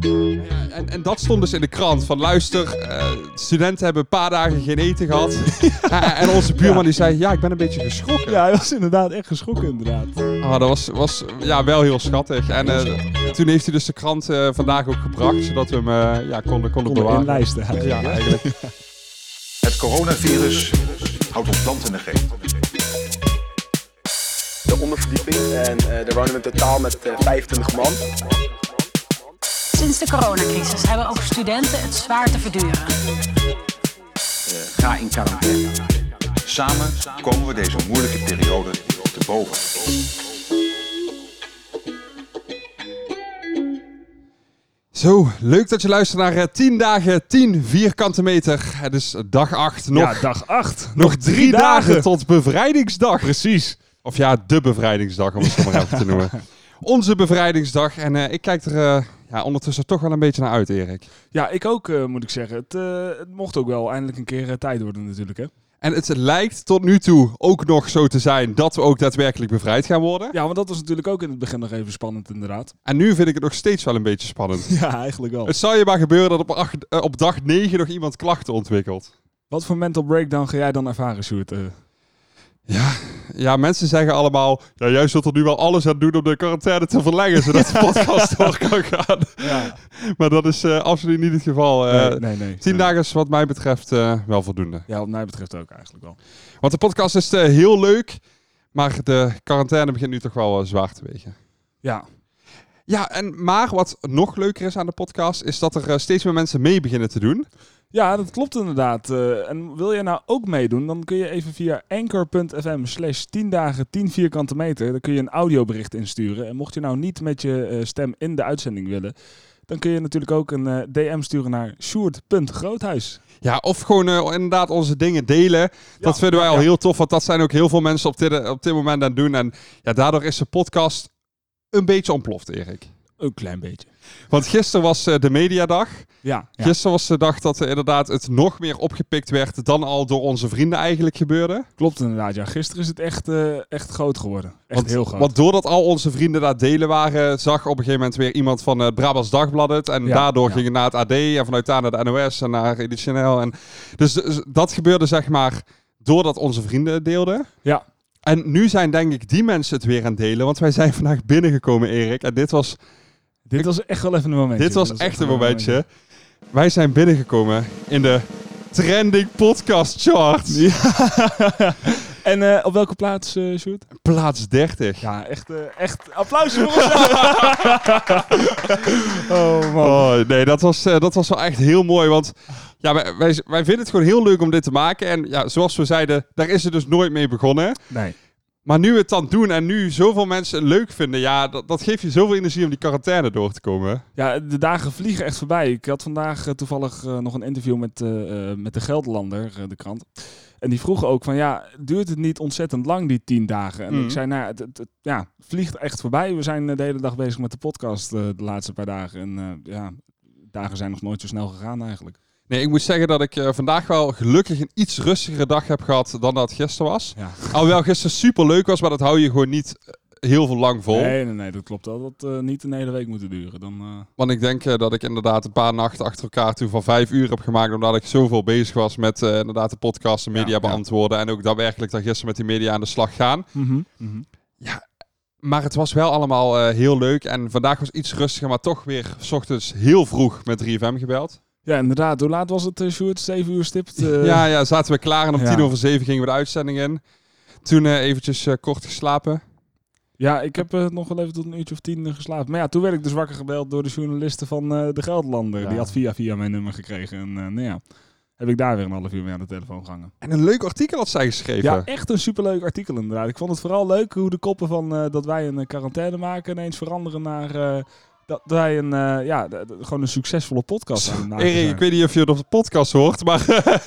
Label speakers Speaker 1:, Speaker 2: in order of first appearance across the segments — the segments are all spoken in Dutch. Speaker 1: Ja, en, en dat stond dus in de krant. Van luister, eh, studenten hebben een paar dagen geen eten gehad. Ja, en onze buurman die zei, ja, ik ben een beetje geschrokken.
Speaker 2: Ja, hij was inderdaad echt geschrokken inderdaad.
Speaker 1: Ah, dat was, was ja, wel heel schattig. En eh, toen heeft hij dus de krant eh, vandaag ook gebracht, zodat we hem eh, ja, konden, konden
Speaker 2: Onder één
Speaker 1: bewaren.
Speaker 2: lijst eigenlijk.
Speaker 1: Ja, eigenlijk.
Speaker 3: Het coronavirus houdt ons land in de greep.
Speaker 4: de onderverdieping. En eh daar wonen we in totaal met eh, 25 man.
Speaker 5: Sinds de coronacrisis hebben ook studenten het zwaar te verduren.
Speaker 3: Ga in quarantaine. Samen komen we deze moeilijke periode te boven.
Speaker 1: Zo, leuk dat je luistert naar eh, 10 dagen 10 vierkante meter. Het is dag 8, nog,
Speaker 2: Ja, dag 8.
Speaker 1: nog drie dagen. tot bevrijdingsdag.
Speaker 2: Precies.
Speaker 1: Of ja, de bevrijdingsdag, om het zo maar even te noemen. Onze bevrijdingsdag. En eh, ik kijk er eh, ja, ondertussen toch wel een beetje naar uit, Erik.
Speaker 2: Ja, ik ook eh, moet ik zeggen. Het, eh, het mocht ook wel eindelijk een keer eh, tijd worden natuurlijk hè.
Speaker 1: En het lijkt tot nu toe ook nog zo te zijn dat we ook daadwerkelijk bevrijd gaan worden.
Speaker 2: Ja, want dat was natuurlijk ook in het begin nog even spannend inderdaad. Dus
Speaker 1: En nu vind ik het nog steeds wel een beetje spannend.
Speaker 2: Ja, eigenlijk wel.
Speaker 1: Het zou je maar gebeuren dat op, acht- eh, op dag 9 nog iemand klachten ontwikkelt.
Speaker 2: Wat voor mental breakdown ga jij dan ervaren, Sjoerd? Eh,
Speaker 1: Ja, mensen zeggen allemaal, ja, jij zult er nu wel alles aan doen om de quarantaine te verlengen, zodat de podcast door kan gaan.
Speaker 2: ja.
Speaker 1: Maar dat is eh, absoluut niet het geval. Eh,
Speaker 2: nee, nee, nee.
Speaker 1: Tien
Speaker 2: Nee.
Speaker 1: dagen is wat mij betreft eh, wel voldoende.
Speaker 2: Ja, wat mij betreft ook eigenlijk wel.
Speaker 1: Want de podcast is eh, heel leuk, maar de quarantaine begint nu toch wel eh, zwaar te wegen.
Speaker 2: Ja,
Speaker 1: Ja, en maar wat nog leuker is aan de podcast, is dat er eh, steeds meer mensen mee beginnen te doen.
Speaker 2: Ja, dat klopt inderdaad. Eh, en wil jij nou ook meedoen, dan kun je even via anchor.fm slash 10 dagen 10 vierkante meter, dan kun je een audiobericht insturen. En mocht je nou niet met je eh, stem in de uitzending willen, dan kun je natuurlijk ook een eh, DM sturen naar sjoerd.groothuis.
Speaker 1: Ja, of gewoon eh, inderdaad onze dingen delen. dat vinden wij al
Speaker 2: ja.
Speaker 1: heel tof, want dat zijn ook heel veel mensen op dit, eh, op dit moment aan het doen. En ja, daardoor is de podcast een beetje ontploft, Erik.
Speaker 2: Een klein beetje.
Speaker 1: Want gisteren was eh, de mediadag.
Speaker 2: Ja, ja.
Speaker 1: Gisteren was de dag dat er inderdaad het nog meer opgepikt werd dan al door onze vrienden eigenlijk gebeurde.
Speaker 2: klopt inderdaad. Ja, gisteren is het echt, eh, echt groot geworden. Echt
Speaker 1: Want,
Speaker 2: heel groot.
Speaker 1: Want doordat al onze vrienden daar delen waren, zag op een gegeven moment weer iemand van het Brabants Dagblad het. En
Speaker 2: Ja,
Speaker 1: daardoor
Speaker 2: ja.
Speaker 1: ging het naar het AD en vanuit daar naar de NOS en naar Editionel. En dus, dus dat gebeurde zeg maar doordat onze vrienden het deelden.
Speaker 2: Ja.
Speaker 1: En nu zijn denk ik die mensen het weer aan het delen, want wij zijn vandaag binnengekomen Erik. En dit was,
Speaker 2: Dit was echt wel even een momentje.
Speaker 1: dit was
Speaker 2: Dat
Speaker 1: echt een
Speaker 2: wel
Speaker 1: momentje. Wij zijn binnengekomen in de trending podcast charts.
Speaker 2: En eh, op welke plaats, eh Sjoerd?
Speaker 1: Plaats 30.
Speaker 2: Ja, echt, eh, echt applaus voor ons. oh man.
Speaker 1: Oh, nee, dat was, eh, dat was wel echt heel mooi. Want ja, wij, wij, wij vinden het gewoon heel leuk om dit te maken. En ja, zoals we zeiden, daar is het dus nooit mee begonnen.
Speaker 2: Nee.
Speaker 1: Maar nu we het dan doen en nu zoveel mensen het leuk vinden, ja, dat, dat geeft je zoveel energie om die quarantaine door te komen.
Speaker 2: Ja, de dagen vliegen echt voorbij. Ik had vandaag eh, toevallig eh, nog een interview met, eh, eh, met de Gelderlander, eh, de krant. En die vroeg ook van, ja, duurt het niet ontzettend lang, die tien dagen? En
Speaker 1: Mhm.
Speaker 2: ik zei, nou, ja, het, het- het- ja, het vliegt echt voorbij. We zijn eh, de hele dag bezig met de podcast eh, de laatste paar dagen. En eh, ja, dagen zijn nog nooit zo snel gegaan eigenlijk.
Speaker 1: Nee, ik moet zeggen dat ik eh, vandaag wel gelukkig een iets rustigere dag heb gehad dan dat gisteren was.
Speaker 2: Ja.
Speaker 1: Alhoewel gisteren super leuk was, maar dat hou je gewoon niet eh, heel veel lang vol.
Speaker 2: Nee, nee, nee, dat klopt. Dat had eh, niet een hele week moeten duren. Dan, eh,
Speaker 1: Want ik denk eh, dat ik inderdaad een paar nachten achter elkaar toen van vijf uur heb gemaakt. Omdat ik zoveel bezig was met eh, inderdaad de podcast, de media
Speaker 2: Ja, ja.
Speaker 1: beantwoorden. En ook daadwerkelijk dan gisteren met die media aan de slag gaan.
Speaker 2: mhm.
Speaker 1: Maar het was wel allemaal eh, heel leuk. En vandaag was iets rustiger, maar toch weer 's ochtends heel vroeg met 3FM gebeld.
Speaker 2: Ja, inderdaad. Hoe laat was het, eh, Sjoerd? Zeven uur stipt? eh?
Speaker 1: ja, ja, zaten we klaar en om
Speaker 2: ja.
Speaker 1: tien over zeven gingen we de uitzending in. Toen eh, eventjes eh, kort geslapen.
Speaker 2: Ja, ik heb eh, nog wel even tot een uurtje of tien eh, geslapen. Maar ja, toen werd ik dus wakker gebeld door de journalisten van eh, De Gelderlander.
Speaker 1: Ja.
Speaker 2: Die had via via mijn nummer gekregen. En eh, nou ja, heb ik daar weer een half uur mee aan de telefoon gehangen.
Speaker 1: En een leuk artikel had zij geschreven.
Speaker 2: Ja, echt een superleuk artikel inderdaad. Ik vond het vooral leuk hoe de koppen van eh, dat wij een eh, quarantaine maken ineens veranderen naar... eh, dat wij een, eh, ja, d- d- gewoon een succesvolle podcast aan het maken
Speaker 1: Erik,
Speaker 2: zijn.
Speaker 1: ik weet niet of je het op de podcast hoort, maar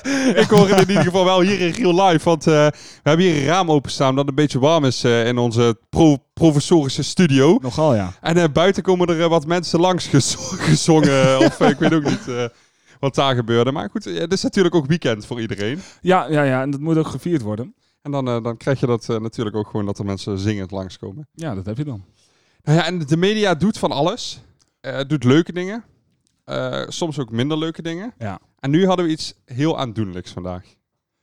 Speaker 1: ik hoor het in ieder geval wel hier in real life. Want eh, we hebben hier een raam openstaan dat een beetje warm is eh, in onze pro- provisorische studio.
Speaker 2: Nogal, ja.
Speaker 1: En eh, buiten komen er eh, wat mensen langs gezo- gezongen. of eh, ik weet ook niet eh, wat daar gebeurde. Maar goed, eh, het is natuurlijk ook weekend voor iedereen.
Speaker 2: ja. Ja, ja, en dat moet ook gevierd worden.
Speaker 1: En dan, eh, dan krijg je dat eh, natuurlijk ook gewoon dat er mensen zingend langskomen.
Speaker 2: Ja, dat heb je dan.
Speaker 1: Nou ja, en de media doet van alles. Eh, Het doet leuke dingen. eh, soms ook minder leuke dingen.
Speaker 2: Ja.
Speaker 1: En nu hadden we iets heel aandoenlijks vandaag.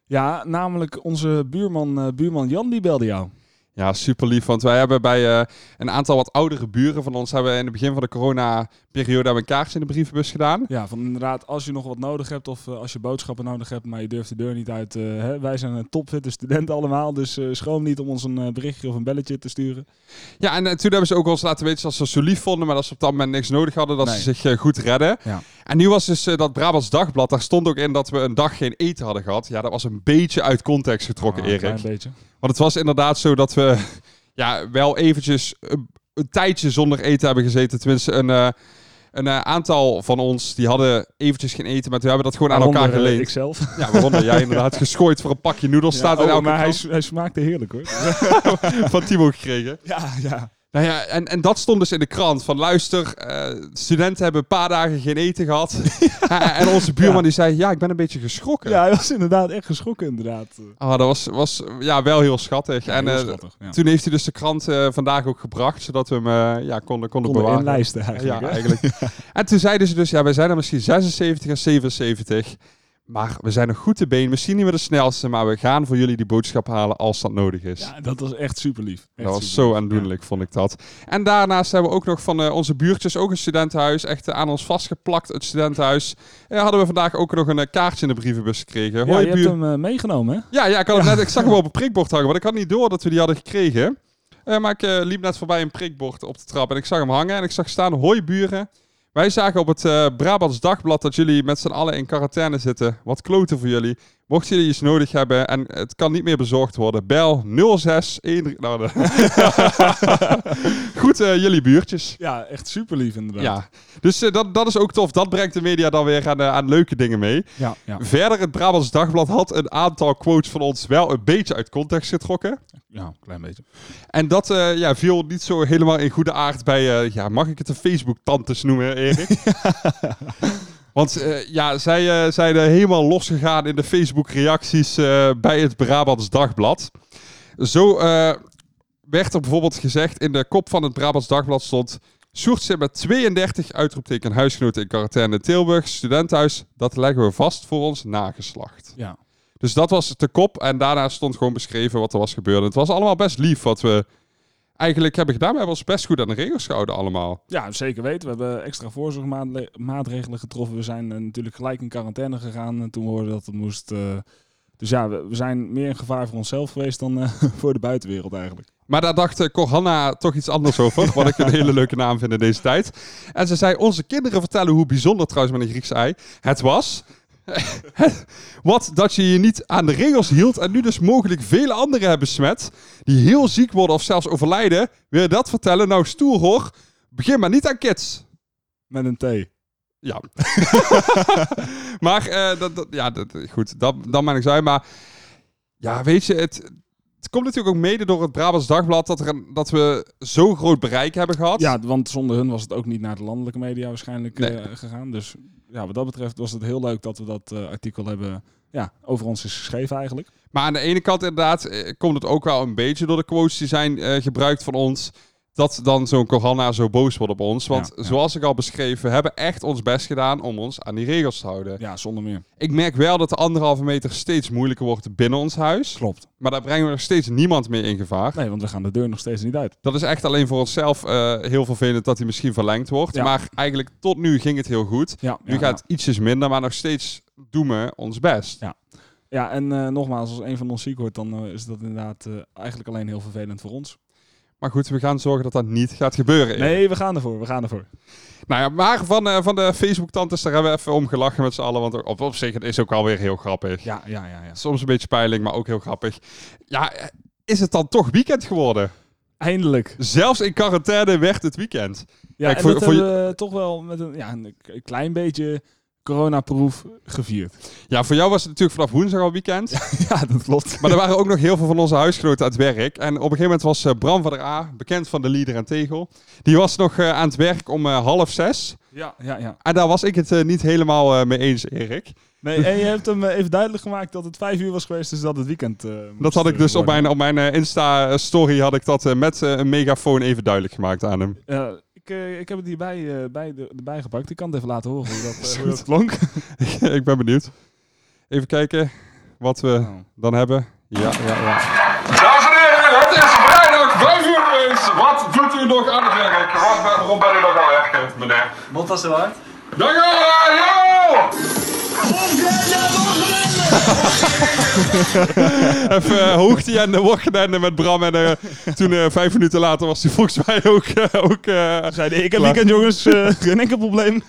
Speaker 2: Ja, namelijk onze buurman, eh, buurman Jan, die belde jou.
Speaker 1: Ja, super lief. Want wij hebben bij eh, een aantal wat oudere buren van ons hebben we in het begin van de corona-periode hebben we een kaartje in de brievenbus gedaan.
Speaker 2: Ja, van inderdaad, als je nog wat nodig hebt of eh, als je boodschappen nodig hebt, maar je durft de deur niet uit. eh, hè, wij zijn een topfitte studenten allemaal, dus eh, schroom niet om ons een eh, berichtje of een belletje te sturen.
Speaker 1: Ja, en eh, toen hebben ze ook ons laten weten dat ze ons zo lief vonden, maar dat ze op dat moment niks nodig hadden, dat
Speaker 2: Nee.
Speaker 1: ze zich eh, goed redden.
Speaker 2: Ja.
Speaker 1: En nu was dus eh, dat Brabants Dagblad, daar stond ook in dat we een dag geen eten hadden gehad. Ja, dat was een beetje uit context getrokken,
Speaker 2: Ah, een
Speaker 1: Erik.
Speaker 2: klein beetje.
Speaker 1: Want het was inderdaad zo dat we ja, wel eventjes een, een tijdje zonder eten hebben gezeten. Tenminste, een, eh, een eh, aantal van ons die hadden eventjes geen eten, maar toen hebben we dat gewoon aan
Speaker 2: Waaronder,
Speaker 1: elkaar
Speaker 2: eh,
Speaker 1: geleend.
Speaker 2: Ikzelf.
Speaker 1: Ja, waaronder jij inderdaad geschooid voor een pakje noedels. staat
Speaker 2: Ja,
Speaker 1: in
Speaker 2: oh,
Speaker 1: elke
Speaker 2: maar hij,
Speaker 1: kant.
Speaker 2: s- hij smaakte heerlijk hoor.
Speaker 1: van Timo gekregen.
Speaker 2: ja, ja.
Speaker 1: Nou ja, en, en dat stond dus in de krant. Van luister, eh, studenten hebben een paar dagen geen eten gehad. en onze buurman
Speaker 2: Ja.
Speaker 1: die zei, ja, ik ben een beetje geschrokken.
Speaker 2: ja, hij was inderdaad echt geschrokken inderdaad. eh.
Speaker 1: Ah, dat was, was ja, wel heel schattig. en
Speaker 2: Heel
Speaker 1: eh,
Speaker 2: schattig, ja.
Speaker 1: toen heeft hij dus de krant eh, vandaag ook gebracht, zodat we hem eh, ja, konden, konden
Speaker 2: Konden
Speaker 1: bewaren.
Speaker 2: inlijsten
Speaker 1: ja,
Speaker 2: eigenlijk. hè?
Speaker 1: eigenlijk. en toen zeiden ze dus, ja, wij zijn er misschien 76 en 77. Maar we zijn nog goed te been. Misschien niet meer de snelste, maar we gaan voor jullie die boodschap halen als dat nodig is.
Speaker 2: Ja, dat was echt super lief.
Speaker 1: Dat was zo aandoenlijk, vond ik dat. En daarnaast hebben we ook nog van eh, onze buurtjes ook een studentenhuis. Echt eh, aan ons vastgeplakt, het studentenhuis. Eh, hadden we vandaag ook nog een eh, kaartje in de brievenbus gekregen.
Speaker 2: Ja,
Speaker 1: Hoi,
Speaker 2: je
Speaker 1: buur.
Speaker 2: hebt hem eh, meegenomen hè?
Speaker 1: Ja, ja, ik, had hem Net, ik zag hem op een prikbord hangen, want ik had niet door dat we die hadden gekregen. Eh, maar ik eh, liep net voorbij een prikbord op de trap en ik zag hem hangen. En ik zag staan, hoi buren. Wij zagen op het eh, Brabants Dagblad dat jullie met z'n allen in quarantaine zitten. Wat kloten voor jullie. Mochten jullie iets nodig hebben en het kan niet meer bezorgd worden, bel 06 13 nou, de- Goed, eh, jullie buurtjes.
Speaker 2: Ja, echt super lief inderdaad.
Speaker 1: Ja, dus eh, dat, dat is ook tof. Dat brengt de media dan weer aan, eh, aan leuke dingen mee.
Speaker 2: ja, ja.
Speaker 1: Verder, het Brabants Dagblad had een aantal quotes van ons wel een beetje uit context getrokken.
Speaker 2: Ja, een klein beetje.
Speaker 1: En dat eh, ja, viel niet zo helemaal in goede aard bij, eh, ja, mag ik het de Facebook-tantes noemen, Erik? Want eh, ja, zij eh, zijn eh, helemaal losgegaan in de Facebook-reacties eh, bij het Brabants Dagblad. Zo eh, werd er bijvoorbeeld gezegd, in de kop van het Brabants Dagblad stond... Sjoerd zit met 32 uitroepteken huisgenoten in quarantaine in Tilburg, studentenhuis. Dat leggen we vast voor ons nageslacht.
Speaker 2: Ja.
Speaker 1: Dus dat was de kop. En daarna stond gewoon beschreven wat er was gebeurd. Het was allemaal best lief wat we eigenlijk hebben gedaan. We hebben ons best goed aan de regels gehouden allemaal.
Speaker 2: ja, zeker weten. We hebben extra voorzorgsmaatregelen getroffen. We zijn eh, natuurlijk gelijk in quarantaine gegaan eh, toen we hoorden dat het moest. eh. dus ja, we, we zijn meer een gevaar voor onszelf geweest dan eh, voor de buitenwereld eigenlijk.
Speaker 1: Maar daar dacht eh, Corhanna toch iets anders over. Wat ik een hele leuke naam vind in deze tijd. En ze zei, onze kinderen vertellen hoe bijzonder trouwens met een Grieks ei het was. wat dat je je niet aan de regels hield en nu dus mogelijk vele anderen hebben besmet. Die heel ziek worden of zelfs overlijden. Wil je dat vertellen? Nou stoer hoor. Begin maar niet aan kids.
Speaker 2: Met een T.
Speaker 1: Ja. maar, eh, dat, dat- ja, dat, goed, dat, dan ben ik zo uit. Maar ja, weet je, het, het komt natuurlijk ook mede door het Brabants Dagblad dat, er een- dat we zo groot bereik hebben gehad.
Speaker 2: Ja, want zonder hun was het ook niet naar de landelijke media waarschijnlijk
Speaker 1: Nee.
Speaker 2: eh, gegaan. Dus ja, wat dat betreft was het heel leuk dat we dat eh, artikel hebben ja, over ons is geschreven eigenlijk.
Speaker 1: Maar aan de ene kant inderdaad eh, komt het ook wel een beetje door de quotes die zijn eh, gebruikt van ons. Dat dan zo'n Corona zo boos wordt op ons. Want
Speaker 2: Ja, ja.
Speaker 1: zoals ik al beschreef, we hebben echt ons best gedaan om ons aan die regels te houden.
Speaker 2: Ja, zonder meer.
Speaker 1: Ik merk wel dat de anderhalve meter steeds moeilijker wordt binnen ons huis.
Speaker 2: Klopt.
Speaker 1: Maar daar brengen we nog steeds niemand meer in gevaar.
Speaker 2: Nee, want we gaan de deur nog steeds niet uit.
Speaker 1: Dat is echt alleen voor onszelf eh, heel vervelend dat hij misschien verlengd wordt.
Speaker 2: Ja.
Speaker 1: Maar eigenlijk tot nu ging het heel goed.
Speaker 2: Ja,
Speaker 1: Nu
Speaker 2: ja,
Speaker 1: gaat het ietsjes minder, maar nog steeds doen we ons best.
Speaker 2: Ja, en eh, nogmaals, als een van ons ziek wordt, dan eh, is dat inderdaad eh, eigenlijk alleen heel vervelend voor ons.
Speaker 1: Maar goed, we gaan zorgen dat dat niet gaat gebeuren.
Speaker 2: Nee, we gaan ervoor, we gaan ervoor.
Speaker 1: Nou ja, maar van, eh, van de Facebook-tantes, daar hebben we even om gelachen met z'n allen. Want op, op zich het is ook alweer heel grappig.
Speaker 2: Ja, ja, ja, ja.
Speaker 1: Soms een beetje peiling, maar ook heel grappig. Ja, eh, is het dan toch weekend geworden?
Speaker 2: Eindelijk.
Speaker 1: Zelfs in quarantaine werd het weekend.
Speaker 2: Ja,
Speaker 1: Kijk,
Speaker 2: en
Speaker 1: voor-
Speaker 2: dat
Speaker 1: voor je-
Speaker 2: hebben we toch wel met een, ja, een k- klein beetje coronaproof gevierd.
Speaker 1: Ja, voor jou was het natuurlijk vanaf woensdag al weekend.
Speaker 2: Ja, dat klopt.
Speaker 1: Maar er waren ook nog heel veel van onze huisgenoten aan het werk. En op een gegeven moment was eh, Bram van der A, bekend van de Lieder en Tegel. Die was nog eh, aan het werk om eh, half zes.
Speaker 2: Ja, ja, ja.
Speaker 1: En daar was ik het eh, niet helemaal eh, mee eens, Erik.
Speaker 2: Nee, en je hebt hem eh, even duidelijk gemaakt dat het vijf uur was geweest, dus dat het weekend eh, moest,
Speaker 1: Dat had ik
Speaker 2: eh,
Speaker 1: dus op
Speaker 2: worden.
Speaker 1: mijn, op mijn eh, Insta-story had ik dat eh, met eh, een megafoon even duidelijk gemaakt aan hem.
Speaker 2: Eh, ik Ik, eh, ik heb het hierbij eh, bij de, erbij gepakt. Ik kan het even laten horen hoe dat, eh,
Speaker 1: Is
Speaker 2: hoe dat klonk.
Speaker 1: ik ben benieuwd. Even kijken wat we
Speaker 2: Oh.
Speaker 1: dan hebben. Ja, ja, ja.
Speaker 6: Dames en heren, het is vrijdag, vijf uur geweest. Wat doet u nog aan het werk? Wat, waarom ben u nog aan het werk, meneer?
Speaker 7: Bottas eruit.
Speaker 6: Dank u wel, ja!
Speaker 1: Even eh, hoogte en de wochtende met Bram. En eh, toen eh, vijf minuten later was hij volgens mij ook... eh, ook eh,
Speaker 2: Zeiden, ik heb
Speaker 1: Klaar.
Speaker 2: weekend jongens, eh, geen enkel probleem.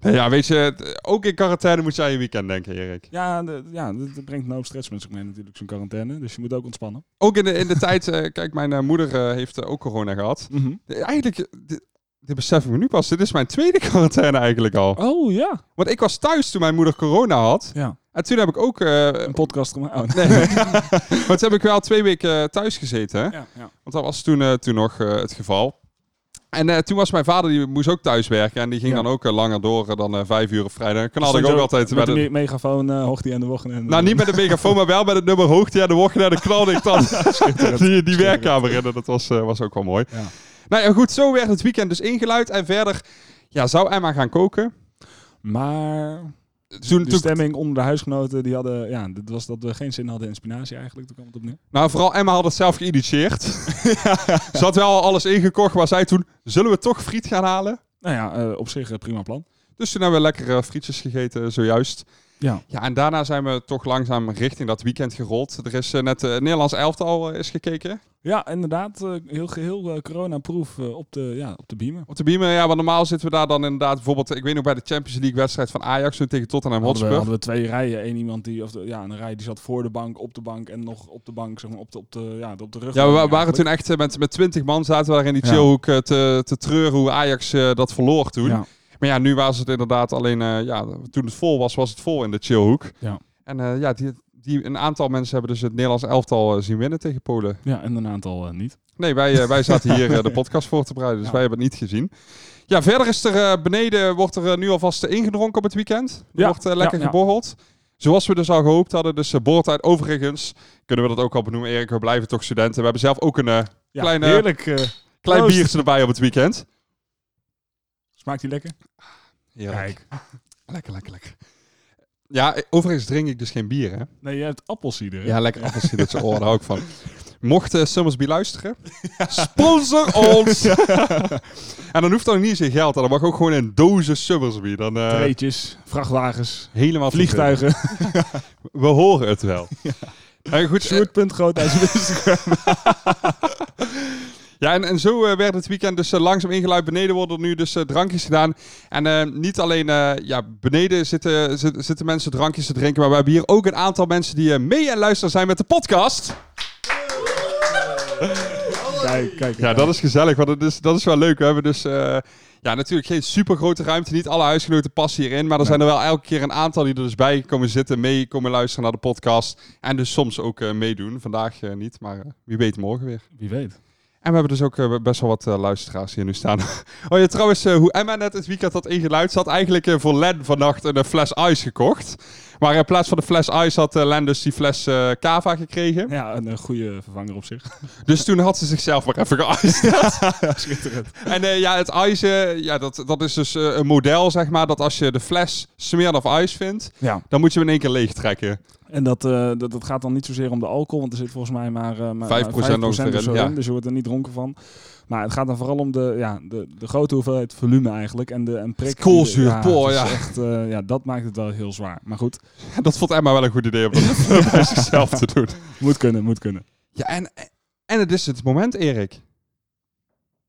Speaker 1: nou ja, weet je, het- ook in quarantaine moet je aan je weekend denken, Erik.
Speaker 2: Ja, de- ja dat dat brengt een hoop stress met zich mee natuurlijk, zo'n quarantaine. Dus je moet ook ontspannen.
Speaker 1: Ook in de, in de tijd, eh, kijk, mijn eh, moeder eh, heeft eh, ook corona gehad.
Speaker 2: Mhm.
Speaker 1: Eh, Eigenlijk, eh, dit, dit besef ik me nu pas, dit is mijn tweede quarantaine eigenlijk al.
Speaker 2: Oh ja.
Speaker 1: Want ik was thuis toen mijn moeder corona had.
Speaker 2: Ja,
Speaker 1: En toen heb ik ook... eh,
Speaker 2: een podcast gemaakt. Oh, nee.
Speaker 1: nee. maar toen heb ik wel twee weken eh, thuis gezeten. hè.
Speaker 2: ja, ja.
Speaker 1: Want dat was toen, eh, toen nog eh, het geval. En eh, toen was mijn vader, die moest ook thuis werken. En die ging
Speaker 2: Ja.
Speaker 1: dan ook eh, langer door eh, dan eh, vijf uur op vrijdag. En knalde
Speaker 2: Stond
Speaker 1: ik
Speaker 2: je
Speaker 1: ook altijd...
Speaker 2: met
Speaker 1: Met
Speaker 2: een
Speaker 1: een,
Speaker 2: me- megafoon, eh hoogte aan de wochten. En,
Speaker 1: nou, niet met de megafoon, maar wel met het nummer hoogte en de wocht. En dan knalde ik dan die, die werkkamer in. En dat was, eh, was ook wel mooi.
Speaker 2: Ja.
Speaker 1: Nou ja, goed. Zo werd het weekend dus ingeluid. En verder ja, zou Emma gaan koken.
Speaker 2: Maar
Speaker 1: Toen,
Speaker 2: de
Speaker 1: toen,
Speaker 2: stemming onder de huisgenoten, die hadden, ja, dat was dat we geen zin hadden in spinazie eigenlijk. Toen kwam het opnieuw.
Speaker 1: nou, vooral Emma had het zelf geïnitieerd. Ze had wel alles ingekocht, maar zei toen... Zullen we toch friet gaan halen?
Speaker 2: Nou ja, eh, op zich eh, prima plan.
Speaker 1: Dus toen hebben we lekker eh, frietjes gegeten eh, zojuist.
Speaker 2: Ja.
Speaker 1: ja, en daarna zijn we toch langzaam richting dat weekend gerold. Er is eh, net eh, het Nederlands elftal eh, is gekeken
Speaker 2: Ja, inderdaad, eh, heel geheel eh coronaproof eh, op, de, ja, op de beamer.
Speaker 1: op de beamer. Ja, want normaal zitten we daar dan inderdaad bijvoorbeeld... Ik weet nog bij de Champions League wedstrijd van Ajax toen tegen Tottenham
Speaker 2: Hadden we,
Speaker 1: Hotspur.
Speaker 2: hadden we twee rijen. Eén iemand die, of de- ja, een rij die zat voor de bank, op de bank en nog op de bank, zeg maar, op de, op de, ja, op de rug.
Speaker 1: Ja, we wa- waren toen echt eh, met, met 20 man zaten we daar in die
Speaker 2: Ja.
Speaker 1: chillhoek eh, te, te treuren hoe Ajax eh, dat verloor toen.
Speaker 2: Ja.
Speaker 1: Maar ja, nu was het inderdaad alleen... eh, ja, toen het vol was, was het vol in de chillhoek.
Speaker 2: Ja.
Speaker 1: En eh, ja, die, die, een aantal mensen hebben dus het Nederlands elftal eh, zien winnen tegen Polen.
Speaker 2: Ja, en een aantal eh, niet.
Speaker 1: Nee, wij, eh, wij zaten hier eh, de podcast voor te bereiden, dus
Speaker 2: Ja.
Speaker 1: wij hebben het niet gezien. Ja, verder is er eh, beneden, wordt er eh, nu alvast eh, ingedronken op het weekend. Er
Speaker 2: Ja,
Speaker 1: wordt eh, lekker
Speaker 2: ja, ja.
Speaker 1: geborreld. Zoals we dus al gehoopt hadden, dus eh borrelt uit. Overigens kunnen we dat ook al benoemen, Erik, we blijven toch studenten. We hebben zelf ook een eh,
Speaker 2: Ja,
Speaker 1: Kleine-
Speaker 2: heerlijk. eh,
Speaker 1: klein
Speaker 2: Proost.
Speaker 1: biertje erbij op het weekend.
Speaker 2: Smaakt die lekker?
Speaker 1: Heerlijk. Lekker, lekker, lekker. Ja, eh, overigens drink ik dus geen bier, hè?
Speaker 2: Nee, je hebt appelsieder. hè?
Speaker 1: Ja, lekker appelsier dat zijn oor, daar hou ik van. Mocht eh, Summersby luisteren, sponsor ons! en dan hoeft dat ook niet zijn geld, hè. dan mag ook gewoon een dozen Summersby. Dan eh,
Speaker 2: Treetjes, vrachtwagens,
Speaker 1: helemaal
Speaker 2: vliegtuigen.
Speaker 1: verder. We horen het wel. Eh, goed, eh,
Speaker 2: Sjoerd.groot uit zijn Instagram.
Speaker 1: ja, en, en zo eh, werd het weekend dus eh, langzaam ingeluid. Beneden worden er nu dus eh, drankjes gedaan. En eh, niet alleen eh, ja, beneden zitten, zit- zitten mensen drankjes te drinken, maar we hebben hier ook een aantal mensen die eh, mee en luisteren zijn met de podcast.
Speaker 2: Kijk, kijk.
Speaker 1: Ja, dat is gezellig, want dat is, dat is wel leuk. We hebben dus eh, ja, natuurlijk geen super grote ruimte. Niet alle huisgenoten passen hierin. Maar er zijn er wel elke keer een aantal die er dus bij komen zitten, mee komen luisteren naar de podcast. En dus soms ook eh, meedoen. Vandaag eh, niet, maar eh, wie weet morgen weer.
Speaker 2: Wie weet.
Speaker 1: En we hebben dus ook eh, best wel wat eh, luisteraars hier nu staan. oh ja, trouwens, eh, hoe Emma net het weekend had ingeluid. Ze had eigenlijk eh, voor Len vannacht een eh, fles ice gekocht. Maar in plaats van de fles ice had eh, Len dus die fles eh, cava gekregen.
Speaker 2: Ja, een, eh, goede vervanger op zich.
Speaker 1: Dus toen had ze zichzelf maar even geiced.
Speaker 2: Schitterend.
Speaker 1: En eh, ja, het ijs, eh, ja, dat, dat is dus eh, een model, zeg maar, dat als je de fles smeer of ijs vindt,
Speaker 2: Ja.
Speaker 1: dan moet je hem in één keer leeg trekken.
Speaker 2: En dat, eh, dat, dat gaat dan niet zozeer om de alcohol, want er zit volgens mij maar, eh maar
Speaker 1: 5%
Speaker 2: maar 5%
Speaker 1: nog
Speaker 2: of zo
Speaker 1: erin, ja.
Speaker 2: in, dus je wordt er niet dronken van. Maar het gaat dan vooral om de, ja, de, de grote hoeveelheid volume eigenlijk en de en prik. die-
Speaker 1: koolzuur,
Speaker 2: ja,
Speaker 1: boh,
Speaker 2: het is
Speaker 1: ja.
Speaker 2: Echt, eh, ja, dat maakt het wel heel zwaar. Maar goed,
Speaker 1: En dat vond Emma wel een goed idee om dat bij zichzelf te doen.
Speaker 2: moet kunnen, moet kunnen.
Speaker 1: Ja, en, en het is het moment, Erik.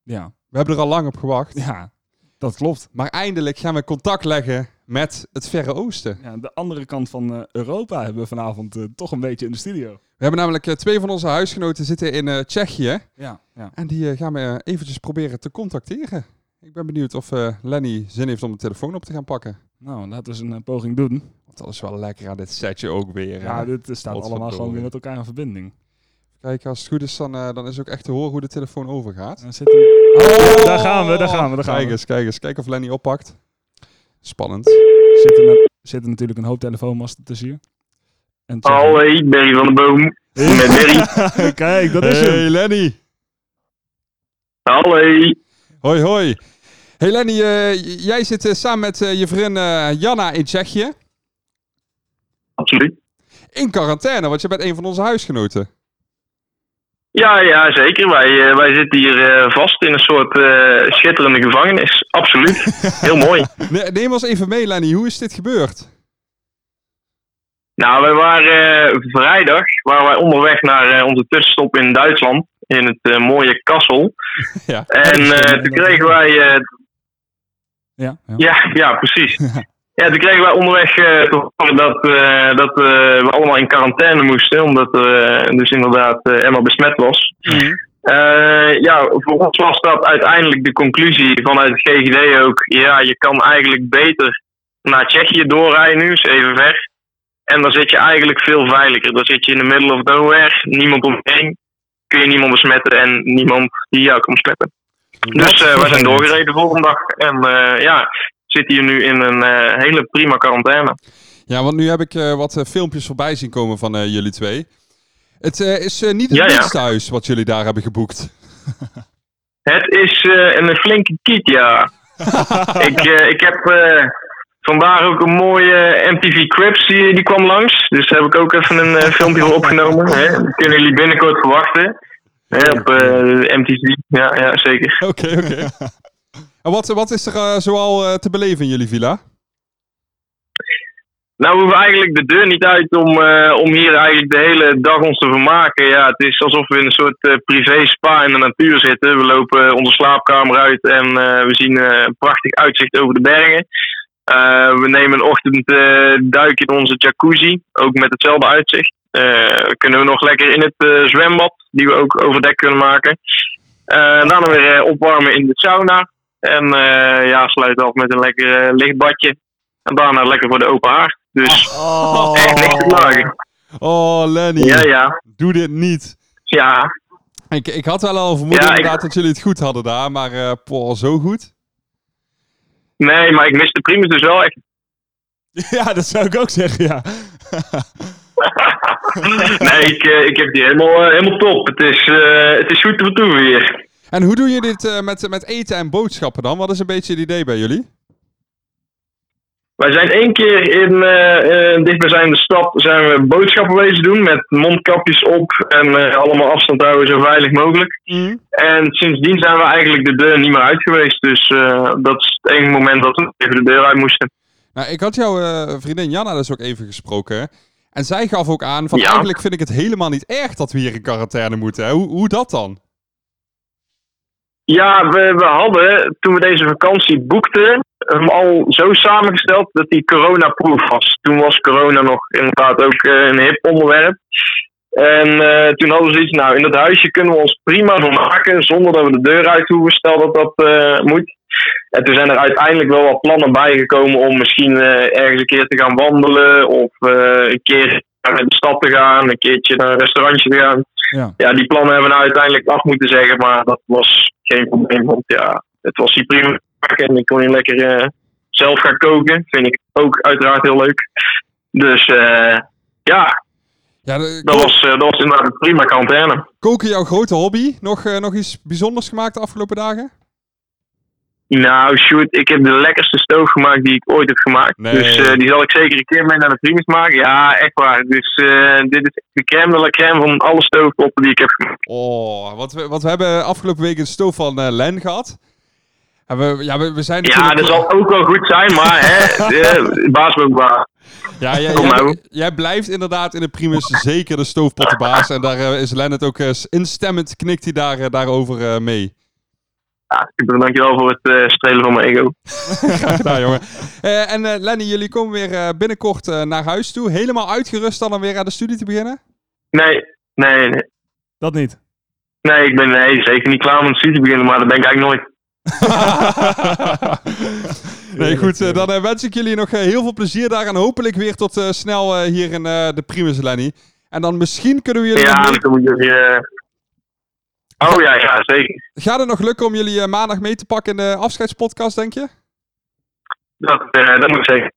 Speaker 2: Ja,
Speaker 1: We hebben er al lang op gewacht.
Speaker 2: ja dat klopt.
Speaker 1: Maar eindelijk gaan we contact leggen met het Verre Oosten.
Speaker 2: Ja, de andere kant van eh, Europa hebben we vanavond eh, toch een beetje in de studio.
Speaker 1: We hebben namelijk eh, twee van onze huisgenoten zitten in eh, Tsjechië.
Speaker 2: Ja, ja.
Speaker 1: En die eh, gaan we eh, eventjes proberen te contacteren. Ik ben benieuwd of eh, Lenny zin heeft om de telefoon op te gaan pakken.
Speaker 2: Nou, laten we eens een eh, poging doen.
Speaker 1: Want dat is wel lekker aan dit setje ook weer.
Speaker 2: Ja,
Speaker 1: hè.
Speaker 2: dit eh, staat allemaal
Speaker 1: Godverdorie.
Speaker 2: gewoon weer met elkaar in verbinding.
Speaker 1: Kijk, als het goed is, dan, eh, dan is ook echt te horen hoe de telefoon overgaat.
Speaker 2: Dan zit hem- Oh, daar gaan we, daar gaan we, daar gaan
Speaker 1: Kijk
Speaker 2: we.
Speaker 1: eens, kijk eens. Kijk of Lenny oppakt. Spannend.
Speaker 2: Zit er, na- zit er natuurlijk een hoop telefoonmasten tussen hier. En
Speaker 8: Allee, Berry van de Boom. Met Berry.
Speaker 2: Kijk, dat is
Speaker 1: hey,
Speaker 2: hem.
Speaker 1: Lenny.
Speaker 8: Allee.
Speaker 1: Hoi, hoi. Hey Lenny, eh, j- jij zit eh, samen met eh, je vriend eh, Janna in Tsjechië.
Speaker 8: Absoluut.
Speaker 1: In quarantaine, want je bent een van onze huisgenoten.
Speaker 8: Ja, ja, zeker. Wij, eh, wij zitten hier eh, vast in een soort eh, schitterende gevangenis. Absoluut. Heel mooi.
Speaker 1: Ne- Neem ons even mee, Lenny. Hoe is dit gebeurd?
Speaker 8: Nou, wij waren eh, vrijdag waren wij onderweg naar eh, onze tussenstop in Duitsland. In het eh, mooie Kassel.
Speaker 1: Ja.
Speaker 8: En eh, toen kregen wij eh,
Speaker 2: Ja, ja.
Speaker 8: Ja, ja precies. Ja, toen kregen wij onderweg eh, te horen dat, eh, dat eh, we allemaal in quarantaine moesten, omdat eh dus inderdaad eh, Emma besmet was. Eh, ja, voor ons was dat uiteindelijk de conclusie vanuit het GGD ook. Ja, je kan eigenlijk beter naar Tsjechië doorrijden nu, is even ver. En dan zit je eigenlijk veel veiliger. Dan zit je in de middle of nowhere, niemand om je heen. Kun je niemand besmetten en niemand die jou kan besmetten. Dus eh wij zijn doorgereden de volgende dag. En eh, ja, zitten hier nu in een eh, hele prima quarantaine.
Speaker 1: Ja, want nu heb ik eh, wat eh, filmpjes voorbij zien komen van eh, jullie twee. Het eh, is eh, niet het
Speaker 8: Ja, ja.
Speaker 1: minste huis wat jullie daar hebben geboekt.
Speaker 8: Het is eh, een flinke kiek, ja. ik, eh, ik heb eh, vandaag ook een mooie eh, MTV Crips, die, die kwam langs. Dus daar heb ik ook even een eh, filmpje voor opgenomen. Hè. Dat kunnen jullie binnenkort verwachten. Hè, op eh, MTV, ja, ja, zeker.
Speaker 1: Oké, oké. En wat, wat is er eh, zoal eh, te beleven in jullie villa?
Speaker 8: Nou, we hoeven eigenlijk de deur niet uit om, eh, om hier eigenlijk de hele dag ons te vermaken. Ja, het is alsof we in een soort eh, privé spa in de natuur zitten. We lopen eh, onze slaapkamer uit en eh, we zien eh, een prachtig uitzicht over de bergen. Eh, we nemen een ochtend eh, duik in onze jacuzzi, ook met hetzelfde uitzicht. Eh, kunnen we nog lekker in het eh, zwembad, die we ook overdekt kunnen maken. Eh daarna weer eh, opwarmen in de sauna. En eh, ja, sluit af met een lekker eh, lichtbadje. En daarna lekker voor de open haard. Dus echt niks te klagen.
Speaker 1: Oh, Lenny,
Speaker 8: Ja, ja.
Speaker 1: doe dit niet.
Speaker 8: Ja,
Speaker 1: Ik, ik had wel al vermoeden
Speaker 8: Ja, ik-
Speaker 1: inderdaad dat jullie het goed hadden daar, maar eh poh, zo goed.
Speaker 8: nee, maar ik mis de primus dus wel echt.
Speaker 2: Ja, dat zou ik ook zeggen, ja.
Speaker 8: nee, ik, eh, ik heb die helemaal, eh, helemaal top. Het is, eh, het is goed te vertoeven hier.
Speaker 1: En hoe doe je dit eh, met, met eten en boodschappen dan? Wat is een beetje het idee bij jullie?
Speaker 8: Wij zijn één keer in eh, eh, dichtbijzijnde stad zijn we boodschappen bezig doen met mondkapjes op en eh, allemaal afstand houden zo veilig mogelijk. En sindsdien zijn we eigenlijk de deur niet meer uit geweest. Dus eh, dat is het enige moment dat we even de deur uit moesten.
Speaker 1: Nou, ik had jouw eh, vriendin Janna dus ook even gesproken. hè. En zij gaf ook aan van
Speaker 8: Ja.
Speaker 1: eigenlijk vind ik het helemaal niet erg dat we hier in quarantaine moeten. Hè? Hoe, hoe dat dan?
Speaker 8: Ja, we, we hadden toen we deze vakantie boekten hem al zo samengesteld dat hij coronaproof was. Toen was corona nog inderdaad ook eh, een hip onderwerp. En eh, toen hadden we zoiets, nou in dat huisje kunnen we ons prima van maken zonder dat we de deur uit hoeven, stel dat dat eh, moet. En toen zijn er uiteindelijk wel wat plannen bijgekomen om misschien eh, ergens een keer te gaan wandelen of eh, een keer naar de stad te gaan, een keertje naar een restaurantje te gaan
Speaker 2: Ja,
Speaker 8: ja, die plannen hebben we nou uiteindelijk af moeten zeggen, maar dat was geen probleem. Want ja, het was hier prima en ik kon je lekker eh, zelf gaan koken. Vind ik ook uiteraard heel leuk. Dus eh, ja,
Speaker 1: Ja, de-
Speaker 8: dat
Speaker 1: ko-
Speaker 8: was, eh, dat was inderdaad een prima quarantaine.
Speaker 1: koken jouw grote hobby? Nog, eh, nog iets bijzonders gemaakt de afgelopen dagen?
Speaker 8: Nou, shoot, ik heb de lekkerste stoof gemaakt die ik ooit heb gemaakt.
Speaker 1: Nee.
Speaker 8: Dus eh, die zal ik zeker een keer mee naar de primus maken. Ja, echt waar. Dus eh, dit is de crème de la crème van alle stoofpoppen die ik heb gemaakt.
Speaker 1: Oh, wat we, wat we hebben afgelopen week een stoof van eh, Len gehad. En we, ja, we, we zijn
Speaker 8: Ja,
Speaker 1: natuurlijk-
Speaker 8: dat zal ook wel goed zijn, maar hè, eh, baas ook baas.
Speaker 1: Ja, jij,
Speaker 8: Kom
Speaker 1: jij-
Speaker 8: nou.
Speaker 1: jij blijft inderdaad in de primus zeker de stoofpottenbaas. En daar eh, is Len het ook eh, instemmend, knikt hij daar, eh, daarover eh, mee.
Speaker 8: Ja, super, dankjewel voor het eh, strelen van mijn ego.
Speaker 1: Graag gedaan, jongen. Eh, en eh, Lenny, jullie komen weer eh, binnenkort eh, naar huis toe. Helemaal uitgerust dan om weer aan de studie te beginnen?
Speaker 8: Nee, nee, nee.
Speaker 2: dat niet.
Speaker 8: Nee, ik ben nee, zeker niet klaar om een studie te beginnen, maar dat ben ik eigenlijk nooit.
Speaker 1: nee, goed. eh, dan eh, wens ik jullie nog eh, heel veel plezier daar. En hopelijk weer tot eh, snel eh, hier in eh, de Primus, Lenny. En dan misschien kunnen we jullie... nog
Speaker 8: Ja,
Speaker 1: mee-
Speaker 8: dan moet je weer... Oh ja, ja, zeker.
Speaker 1: Gaat het nog lukken om jullie eh, maandag mee te pakken in de afscheidspodcast, denk je?
Speaker 8: Dat, eh, dat moet ik zeker.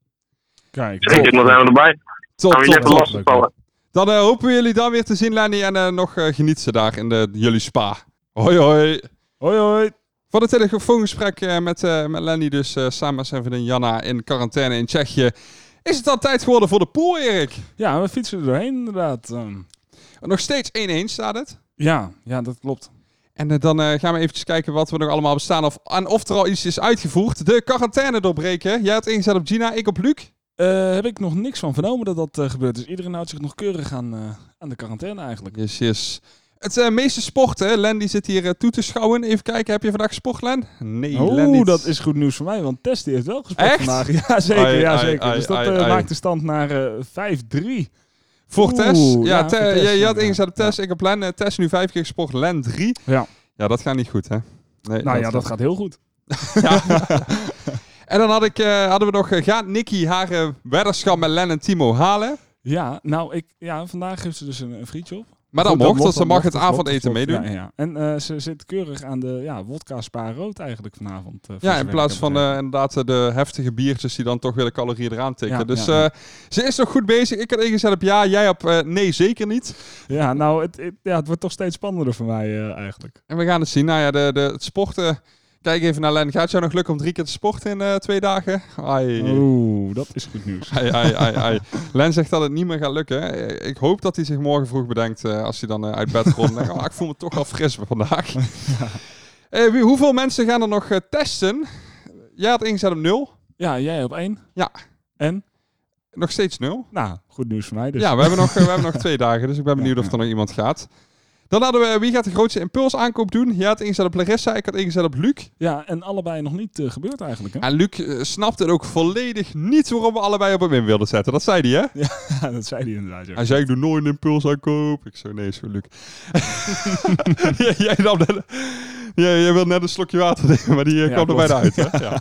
Speaker 2: Kijk.
Speaker 8: Zeker, dan zijn we erbij.
Speaker 1: Top,
Speaker 8: Dan
Speaker 1: top,
Speaker 8: gaan we je even
Speaker 1: top.
Speaker 8: lastig vallen.
Speaker 1: Dan eh, hopen we jullie dan weer te zien, Lenny. En eh, nog eh, geniet ze daar in de, jullie spa. Hoi, hoi.
Speaker 2: Hoi, hoi.
Speaker 1: We hadden een telefoongesprek eh, met, eh, met Lenny, dus eh, samen zijn vriendin Janna in quarantaine in Tsjechië. Is het al tijd geworden voor de pool, Erik?
Speaker 2: Ja, we fietsen er doorheen inderdaad. ehm.
Speaker 1: Nog steeds 1-1 staat het.
Speaker 2: ja, ja, dat klopt.
Speaker 1: En eh, dan eh, gaan we eventjes kijken wat we nog allemaal bestaan of, en of er al iets is uitgevoerd. De quarantaine doorbreken. Jij had ingezet op Gina, ik op Luc.
Speaker 2: Eh, heb ik nog niks van vernomen dat dat eh, gebeurt. Dus iedereen houdt zich nog keurig aan, eh, aan de quarantaine eigenlijk.
Speaker 1: Yes, yes. Het eh, meeste sporten. Len die zit hier eh, toe te schouwen. Even kijken, heb je vandaag gesport, Len? Nee, Len
Speaker 2: Oh,
Speaker 1: niet.
Speaker 2: dat is goed nieuws voor mij, want Tess die heeft wel gespeeld
Speaker 1: Echt?
Speaker 2: vandaag. Ja, zeker.
Speaker 1: Ai,
Speaker 2: ja,
Speaker 1: ai,
Speaker 2: zeker.
Speaker 1: ai,
Speaker 2: dus dat
Speaker 1: ai,
Speaker 2: eh,
Speaker 1: ai.
Speaker 2: maakt de stand naar eh, 5-3.
Speaker 1: Voor
Speaker 2: Oeh,
Speaker 1: Tess. Ja,
Speaker 2: ja,
Speaker 1: Te-
Speaker 2: voor Tess,
Speaker 1: je, je had
Speaker 2: ja.
Speaker 1: ingezet op Tess, ik op Len. Eh, Tess nu vijf keer gesport, Len drie.
Speaker 2: Ja.
Speaker 1: Ja, dat gaat niet goed, hè? Nee,
Speaker 2: Nou ja, dat gaat heel goed.
Speaker 1: En dan had ik, eh, hadden we nog, eh, gaat Nicky haar eh, weddenschap met Len en Timo halen?
Speaker 2: Ja, nou, ik, ja, vandaag heeft ze dus een, een frietje op.
Speaker 1: Maar dan
Speaker 2: Goed,
Speaker 1: mocht, want ze
Speaker 2: dat
Speaker 1: mag het
Speaker 2: dat mocht,
Speaker 1: avondeten
Speaker 2: dat klopt.
Speaker 1: meedoen. Ja,
Speaker 2: Ja, ja. En eh, ze zit keurig aan de ja, wodka spa rood eigenlijk vanavond. eh, voor
Speaker 1: in
Speaker 2: zover
Speaker 1: plaats
Speaker 2: ik
Speaker 1: van
Speaker 2: heb
Speaker 1: eh, inderdaad eh, de heftige biertjes die dan toch weer de calorieën eraan tikken.
Speaker 2: Ja,
Speaker 1: dus
Speaker 2: ja, ja.
Speaker 1: eh, ze is nog goed bezig. Ik had ingezet op ja, jij op eh, nee, zeker niet.
Speaker 2: begrepen. Ja, nou, het, het- ja, het wordt toch steeds spannender voor mij eh, eigenlijk.
Speaker 1: En we gaan het zien. Nou ja, de, de, het sporten. Kijk even naar Len. Gaat het jou nog lukken om drie keer te sporten in eh, twee dagen? Ai.
Speaker 2: Oh, Oeh, dat is goed nieuws.
Speaker 1: Ai, ai, ai, ai. Len zegt dat het niet meer gaat lukken. Eh, Ik hoop dat hij zich morgen vroeg bedenkt eh, als hij dan eh, uit bed komt. Denk, oh, ik voel me toch wel fris vandaag. Eh, wie, hoeveel mensen gaan er nog eh, testen? Jij had ingezet op nul.
Speaker 2: Ja, jij op één.
Speaker 1: Ja.
Speaker 2: En?
Speaker 1: Nog steeds nul.
Speaker 2: Nou, goed nieuws voor mij dus.
Speaker 1: Ja, we hebben, nog, eh, we hebben nog twee dagen, dus ik ben benieuwd of
Speaker 2: ja.
Speaker 1: er nog iemand gaat. Dan hadden we, eh, wie gaat de grootste impulsaankoop doen? Jij had ingezet op Larissa, ik had ingezet op Luc.
Speaker 2: Ja, en allebei nog niet eh, gebeurd eigenlijk. Hè?
Speaker 1: En Luc eh, snapte het ook volledig niet waarom we allebei op hem in wilden zetten. Dat zei hij, hè?
Speaker 2: Ja, dat zei hij inderdaad. ja.
Speaker 1: Hij zei, ik doe nooit een impuls aankoop. Ik zei, nee, is voor Luc. jij, jij, nam net, jij, jij wilde net een slokje water nemen, maar die eh,
Speaker 2: Ja,
Speaker 1: kwam er
Speaker 2: klopt.
Speaker 1: bijna uit. Hè? Ja.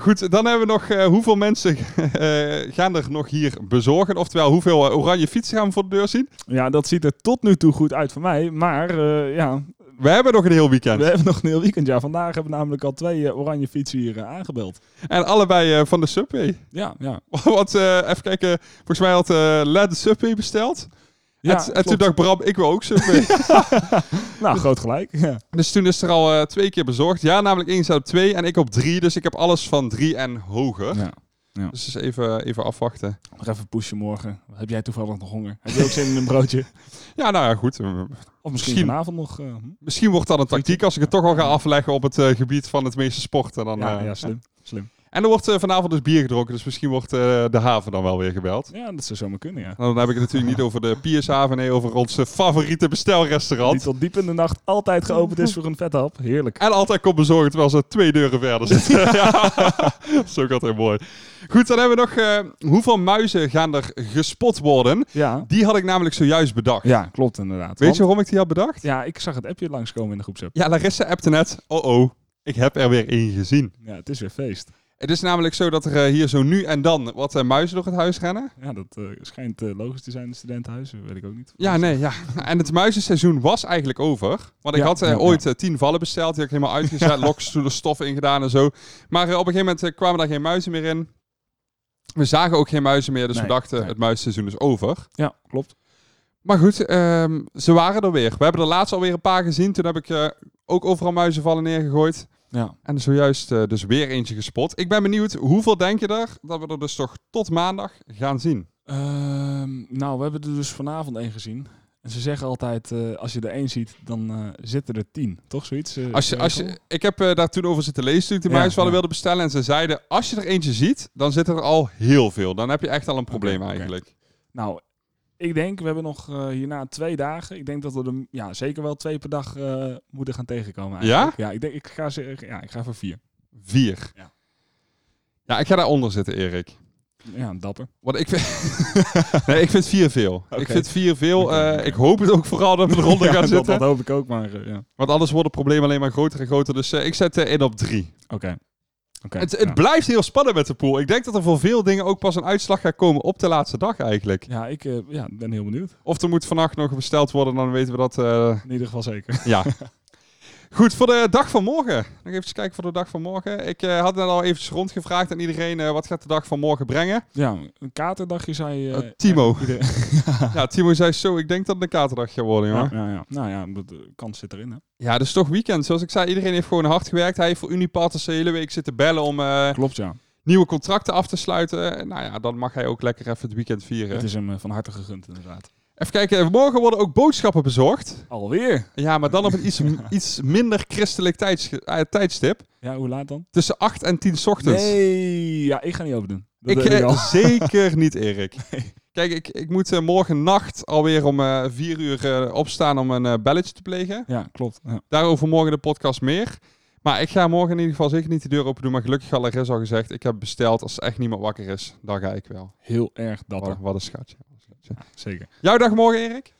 Speaker 1: Goed, dan hebben we nog eh, hoeveel mensen eh, gaan er nog hier bezorgen. Oftewel, hoeveel eh, oranje fietsen gaan we voor de deur zien.
Speaker 2: Ja, dat ziet er tot nu toe goed uit voor mij. Maar eh, ja,
Speaker 1: We hebben nog een heel weekend.
Speaker 2: we hebben nog een heel weekend. Ja, vandaag hebben we namelijk al twee eh, oranje fietsen hier eh, aangebeld.
Speaker 1: En allebei eh, van de Subway.
Speaker 2: Ja, ja.
Speaker 1: Want, eh, even kijken, volgens mij had eh Led de Subway besteld.
Speaker 2: ja
Speaker 1: en, t- en toen
Speaker 2: klopt.
Speaker 1: dacht Bram, ik wil ook Subway.
Speaker 2: Nou, groot gelijk. Ja.
Speaker 1: Dus toen is er al eh, twee keer bezorgd. Ja, namelijk één staat op twee en ik op drie. Dus ik heb alles van drie en hoger.
Speaker 2: Ja.
Speaker 1: Dus dus even, even afwachten.
Speaker 2: Nog even pushen morgen. Heb jij toevallig nog honger? Heb je ook zin in een broodje?
Speaker 1: Ja, nou ja, goed. Eh,
Speaker 2: Of misschien,
Speaker 1: Misschien.
Speaker 2: vanavond nog? eh, hm?
Speaker 1: Misschien wordt dat een tactiek als ik het toch al ga afleggen op het eh, gebied van het meeste sporten. Dan,
Speaker 2: ja,
Speaker 1: eh,
Speaker 2: ja, slim. slim.
Speaker 1: En er wordt eh, vanavond dus bier gedronken. Dus misschien wordt eh, de haven dan wel weer gebeld.
Speaker 2: Ja, dat zou zomaar kunnen, ja.
Speaker 1: En dan heb ik het natuurlijk niet over de Piershaven. Nee, over ons eh, favoriete
Speaker 2: Die
Speaker 1: bestelrestaurant.
Speaker 2: tot diep in de nacht altijd geopend is voor een vethap. Heerlijk.
Speaker 1: En altijd komt bezorgd terwijl ze twee deuren verder zitten. ja. Dat is ook altijd mooi. Goed, dan hebben we nog... eh, hoeveel muizen gaan er gespot worden?
Speaker 2: Ja,
Speaker 1: Die had ik namelijk zojuist bedacht.
Speaker 2: ja klopt inderdaad.
Speaker 1: Weet
Speaker 2: Want-
Speaker 1: je waarom ik die had bedacht?
Speaker 2: Ja, ik zag het appje langskomen in de groepsapp.
Speaker 1: Ja, Larissa appte net. Oh oh, ik heb er weer één gezien.
Speaker 2: Ja, het is weer feest.
Speaker 1: Het is namelijk zo dat er eh, hier zo nu en dan wat eh, muizen door het huis rennen.
Speaker 2: Ja, dat eh, schijnt eh, logisch te zijn in studentenhuizen, weet ik ook niet.
Speaker 1: Ja, nee, ja. Dus- En het muizenseizoen was eigenlijk over. Want ik
Speaker 2: Ja,
Speaker 1: had eh,
Speaker 2: ja,
Speaker 1: ooit eh, tien vallen besteld. Die had ik helemaal uitgezet. Lokstoelen, stof ingedaan en zo. Maar eh, op een gegeven moment eh, kwamen daar geen muizen meer in. We zagen ook geen muizen meer. Dus
Speaker 2: Nee,
Speaker 1: we dachten,
Speaker 2: nee.
Speaker 1: het muizenseizoen is over.
Speaker 2: Ja, klopt.
Speaker 1: Maar goed, ehm, ze waren er weer. We hebben er laatst alweer een paar gezien. Toen heb ik eh, ook overal muizenvallen neergegooid.
Speaker 2: Ja.
Speaker 1: En zojuist eh, dus weer eentje gespot. Ik ben benieuwd, hoeveel denk je er dat we er dus toch tot maandag gaan zien?
Speaker 2: Ehm, nou, we hebben er dus vanavond één gezien. En ze zeggen altijd, eh, als je er één ziet, dan eh, zitten er tien. Toch zoiets? eh,
Speaker 1: Als je, als je,
Speaker 2: regel?
Speaker 1: ik heb eh, daar toen over zitten lezen toen ik de
Speaker 2: Ja,
Speaker 1: muisvallen
Speaker 2: ja.
Speaker 1: wilde bestellen. En ze zeiden, als je er eentje ziet, dan zit er al heel veel. Dan heb je echt al een probleem
Speaker 2: oké.
Speaker 1: eigenlijk.
Speaker 2: Nou, ik denk, we hebben nog eh, hierna twee dagen. Ik denk dat we er ja, zeker wel twee per dag eh, moeten gaan tegenkomen eigenlijk. Ja? ik, denk, ik, ga, ze- ja, ik ga voor vier.
Speaker 1: Vier. Ja.
Speaker 2: Ja.
Speaker 1: ik ga daaronder zitten, Erik.
Speaker 2: Ja, dapper.
Speaker 1: Want ik vind, nee, ik vind vier veel. Ik vind vier veel.
Speaker 2: Oké,
Speaker 1: Eh,
Speaker 2: oké.
Speaker 1: Ik hoop het ook vooral dat we eronder
Speaker 2: Ja,
Speaker 1: gaan
Speaker 2: dat,
Speaker 1: zitten.
Speaker 2: dat hoop ik ook, maar eh, ja. Oké.
Speaker 1: Want anders wordt het probleem alleen maar groter en groter. Dus eh, ik zet eh, in op drie.
Speaker 2: Oké,
Speaker 1: Het, het
Speaker 2: ja.
Speaker 1: blijft heel spannend met de pool. Ik denk dat er voor veel dingen ook pas een uitslag gaat komen op de laatste dag eigenlijk.
Speaker 2: Ja, ik eh, ja, ben heel benieuwd.
Speaker 1: Of er moet vannacht nog besteld worden, dan weten we dat. eh,
Speaker 2: In ieder geval zeker.
Speaker 1: ja. Goed, voor de dag van morgen. Nog even kijken voor de dag van morgen. Ik eh, had net al eventjes rondgevraagd aan iedereen eh, wat gaat de dag van morgen brengen.
Speaker 2: Ja, een katerdagje zei je.
Speaker 1: Eh, Timo. Ja, Timo zei zo, ik denk dat het een katerdag gaat worden, jongen.
Speaker 2: Ja, ja, ja. Nou ja, dat de kans zit erin. Hè?
Speaker 1: Ja, dus toch weekend. Zoals ik zei, iedereen heeft gewoon hard gewerkt. Hij heeft voor Unipartners de hele week zitten bellen om eh,
Speaker 2: Klopt, ja.
Speaker 1: nieuwe contracten af te sluiten. En Nou ja, dan mag hij ook lekker even het weekend vieren.
Speaker 2: Het is hem eh, van harte gegund, inderdaad.
Speaker 1: Even kijken, morgen worden ook boodschappen bezorgd.
Speaker 2: Alweer?
Speaker 1: Ja, maar dan op een iets, iets minder christelijk tijds, eh, tijdstip.
Speaker 2: Ja, hoe laat dan?
Speaker 1: Tussen 8 en 10 's ochtends.
Speaker 2: Nee, ja, ik ga niet open doen. Dat
Speaker 1: ik,
Speaker 2: weet
Speaker 1: eh,
Speaker 2: al.
Speaker 1: zeker niet, Erik. Kijk, ik, ik moet eh, morgen nacht alweer om eh 4 uur eh, opstaan om een eh, belletje te plegen.
Speaker 2: Ja, klopt. Ja.
Speaker 1: Daarover morgen de podcast meer. Maar ik ga morgen in ieder geval zeker niet de deur open doen. Maar gelukkig had Larissa al gezegd, ik heb besteld. Als echt niemand wakker is, dan ga ik wel.
Speaker 2: Heel erg dat.
Speaker 1: Wat,
Speaker 2: hoor.
Speaker 1: wat een schatje.
Speaker 2: Zeker.
Speaker 1: Jouw dag morgen, Erik?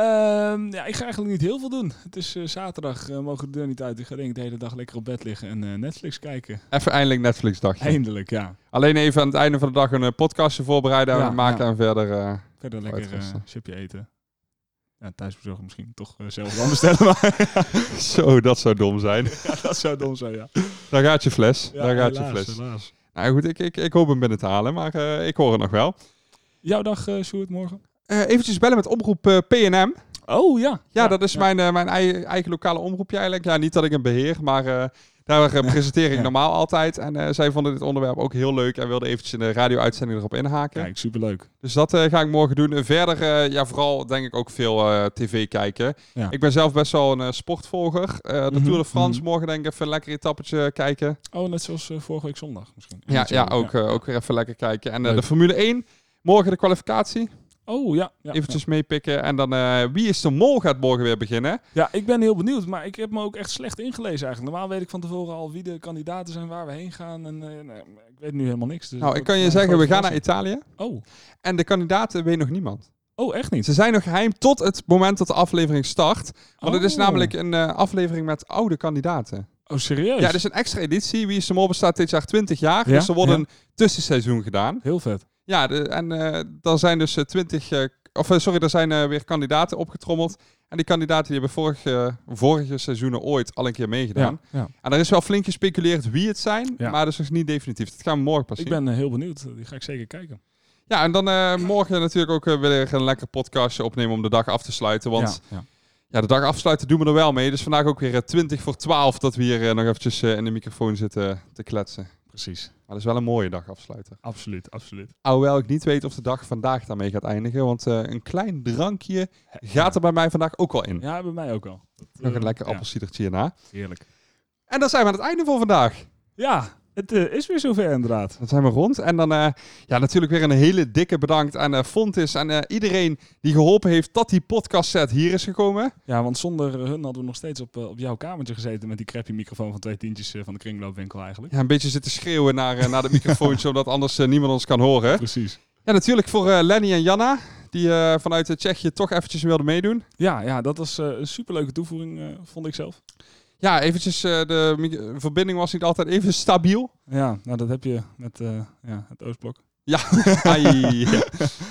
Speaker 2: Ehm, ja, ik ga eigenlijk niet heel veel doen. Het is eh, zaterdag, eh, mogen we de deur niet uit. Ik ga denk ik de hele dag lekker op bed liggen en eh, Netflix kijken.
Speaker 1: Even eindelijk Netflix dagje.
Speaker 2: Eindelijk, ja.
Speaker 1: Alleen even aan het einde van de dag een eh, podcastje voorbereiden en
Speaker 2: Ja,
Speaker 1: maken
Speaker 2: ja.
Speaker 1: en verder... eh,
Speaker 2: Verder lekker eh
Speaker 1: Uitrusten.
Speaker 2: chipje eten. Ja, thuisbezorgen misschien toch eh, zelf dan bestellen. Maar
Speaker 1: Zo, dat zou dom zijn.
Speaker 2: dat zou dom zijn, ja.
Speaker 1: Daar gaat je fles.
Speaker 2: Ja,
Speaker 1: Daar gaat
Speaker 2: helaas,
Speaker 1: je fles.
Speaker 2: helaas.
Speaker 1: Nou goed, ik, ik, ik hoop hem binnen te halen, maar eh, ik hoor het nog wel.
Speaker 2: Jouw dag, eh Sjoerd, morgen?
Speaker 1: Even eventjes bellen met omroep eh, PNM.
Speaker 2: Oh, ja.
Speaker 1: Ja, dat is mijn, eh, mijn ei- eigen lokale omroepje eigenlijk. Ja, niet dat ik hem beheer, maar eh, daar eh, presenteer ik normaal altijd. En eh, zij vonden dit onderwerp ook heel leuk en wilden eventjes in de radio-uitzending erop inhaken.
Speaker 2: Kijk, superleuk.
Speaker 1: Dus dat eh, ga ik morgen doen. En verder, eh, ja, vooral denk ik ook veel eh, tv kijken.
Speaker 2: Ja. Mhm,
Speaker 1: Ik ben zelf best wel een eh, sportvolger. Eh, de Tour de France, morgen denk ik even een lekker etappetje eh, kijken.
Speaker 2: Oh, net zoals eh, vorige week zondag misschien.
Speaker 1: Ja,
Speaker 2: Niet zo,
Speaker 1: ja, ook, eh, ook weer even lekker kijken. En eh,
Speaker 2: Leuk.
Speaker 1: de Formule 1, morgen de kwalificatie.
Speaker 2: Oh, ja. Ja,
Speaker 1: eventjes meepikken. En dan eh, Wie is de Mol gaat morgen weer beginnen.
Speaker 2: ja. Ja, ik ben heel benieuwd, maar ik heb me ook echt slecht ingelezen eigenlijk. Normaal weet ik van tevoren al wie de kandidaten zijn, waar we heen gaan. En eh, nou, ik weet nu helemaal niks. Dus
Speaker 1: Nou,
Speaker 2: dat
Speaker 1: ik kan je
Speaker 2: wordt
Speaker 1: zeggen,
Speaker 2: een
Speaker 1: we gaan
Speaker 2: grote
Speaker 1: naar Dus- Italië.
Speaker 2: verrassing.
Speaker 1: En de kandidaten weet nog niemand.
Speaker 2: Oh, oh, echt niet?
Speaker 1: Ze zijn nog geheim tot het moment dat de aflevering start. Want het is
Speaker 2: Oh.
Speaker 1: namelijk een eh, aflevering met oude kandidaten.
Speaker 2: Oh, serieus?
Speaker 1: Ja, dus een extra editie. Wie is de Mol bestaat dit jaar 20 jaar.
Speaker 2: Ja,
Speaker 1: Dus er wordt
Speaker 2: ja.
Speaker 1: een tussenseizoen gedaan.
Speaker 2: Heel vet.
Speaker 1: Ja, de- en eh dan zijn dus eh, 20... eh, of eh, sorry, er zijn eh, weer kandidaten opgetrommeld. En die kandidaten die hebben vorige, vorige seizoenen ooit al een keer meegedaan.
Speaker 2: Ja, ja.
Speaker 1: En er is wel flink gespeculeerd wie het zijn,
Speaker 2: Ja.
Speaker 1: maar dus nog niet definitief. Dat gaan we morgen pas zien.
Speaker 2: Ik ben eh, heel benieuwd. Die ga ik zeker kijken.
Speaker 1: Ja, en dan eh, morgen natuurlijk ook eh, weer een lekker podcastje opnemen om de dag af te sluiten. Want ja,
Speaker 2: ja, ja.
Speaker 1: de dag afsluiten doen we er wel mee. Dus vandaag ook weer eh, 20 voor 12 dat we hier eh, nog eventjes eh, in de microfoon zitten te kletsen.
Speaker 2: precies.
Speaker 1: Maar dat is wel een mooie dag afsluiten.
Speaker 2: Absoluut, absoluut.
Speaker 1: Alhoewel ik niet weet of de dag vandaag daarmee gaat eindigen. Want eh, een klein drankje gaat er bij mij vandaag ook wel in.
Speaker 2: Ja, bij mij ook al. Dat,
Speaker 1: Nog
Speaker 2: eh,
Speaker 1: een lekker
Speaker 2: ja,
Speaker 1: appelsiedertje hierna.
Speaker 2: heerlijk.
Speaker 1: En dan zijn we aan het einde voor vandaag.
Speaker 2: Ja, het eh, is weer zover inderdaad.
Speaker 1: Dan zijn we rond. En dan eh, ja, natuurlijk weer een hele dikke bedankt aan eh Fontis. En eh, iedereen die geholpen heeft dat die podcast set hier is gekomen.
Speaker 2: Ja, want zonder hun hadden we nog steeds op, eh, op jouw kamertje gezeten met die crappy microfoon van twee tientjes eh, van de kringloopwinkel eigenlijk.
Speaker 1: Ja, een beetje zitten schreeuwen naar, eh, naar de microfoon, zodat anders eh, niemand ons kan horen.
Speaker 2: Precies.
Speaker 1: Ja, natuurlijk voor eh, Lenny en Janna, die eh, vanuit eh, Tsjechië toch eventjes wilden meedoen.
Speaker 2: Ja, ja dat was eh, een superleuke toevoeging, eh, vond ik zelf.
Speaker 1: Ja, eventjes, eh, de mi- verbinding was niet altijd even stabiel.
Speaker 2: Ja, nou dat heb je met eh, ja, het Oostblok.
Speaker 1: Ja, ai,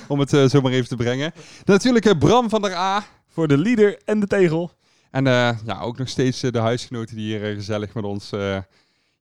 Speaker 1: om het eh, zo maar even te brengen. Natuurlijk eh, Bram van der A.
Speaker 2: Voor de leader en de tegel.
Speaker 1: En eh, ja, ook nog steeds eh, de huisgenoten die hier eh, gezellig met ons eh,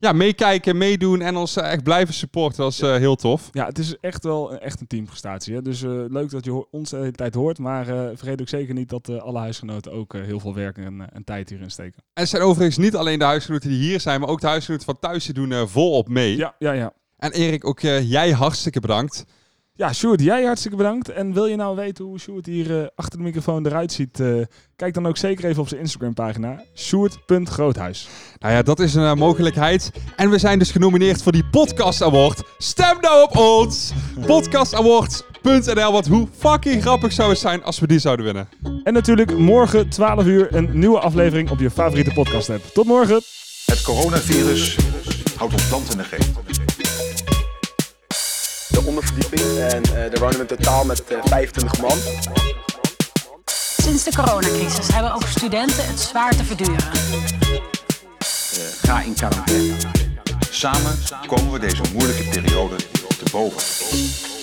Speaker 1: ja, meekijken, meedoen en ons eh, echt blijven supporten. Dat is eh, heel tof.
Speaker 2: Ja, het is echt wel een- echt een teamprestatie. Hè? Dus eh, leuk dat je ho- ons de hele tijd hoort. Maar eh, vergeet ook zeker niet dat eh, alle huisgenoten ook eh, heel veel werk en, eh, en tijd hierin steken.
Speaker 1: En het zijn overigens niet alleen de huisgenoten die hier zijn, maar ook de huisgenoten van thuis die doen eh, volop mee.
Speaker 2: Ja, ja, ja.
Speaker 1: En Erik, ook eh, jij hartstikke bedankt.
Speaker 2: Ja, Sjoerd, jij hartstikke bedankt. En wil je nou weten hoe Sjoerd hier eh, achter de microfoon eruit ziet? eh, kijk dan ook zeker even op zijn Instagram-pagina. Sjoerd.groothuis.
Speaker 1: Nou ja, dat is een eh, mogelijkheid. En we zijn dus genomineerd voor die Podcast Award. Stem nou op ons! Podcastawards.nl, want hoe fucking grappig zou het zijn als we die zouden winnen.
Speaker 2: En natuurlijk morgen 12 uur een nieuwe aflevering op je favoriete podcast-app. Tot morgen!
Speaker 3: Het coronavirus houdt ons land in de greep.
Speaker 4: De onderverdieping. En eh er wonen in totaal met eh, 25 man.
Speaker 5: Sinds de coronacrisis hebben ook studenten het zwaar te verduren.
Speaker 3: Ga in quarantaine. Samen komen we deze moeilijke periode te boven.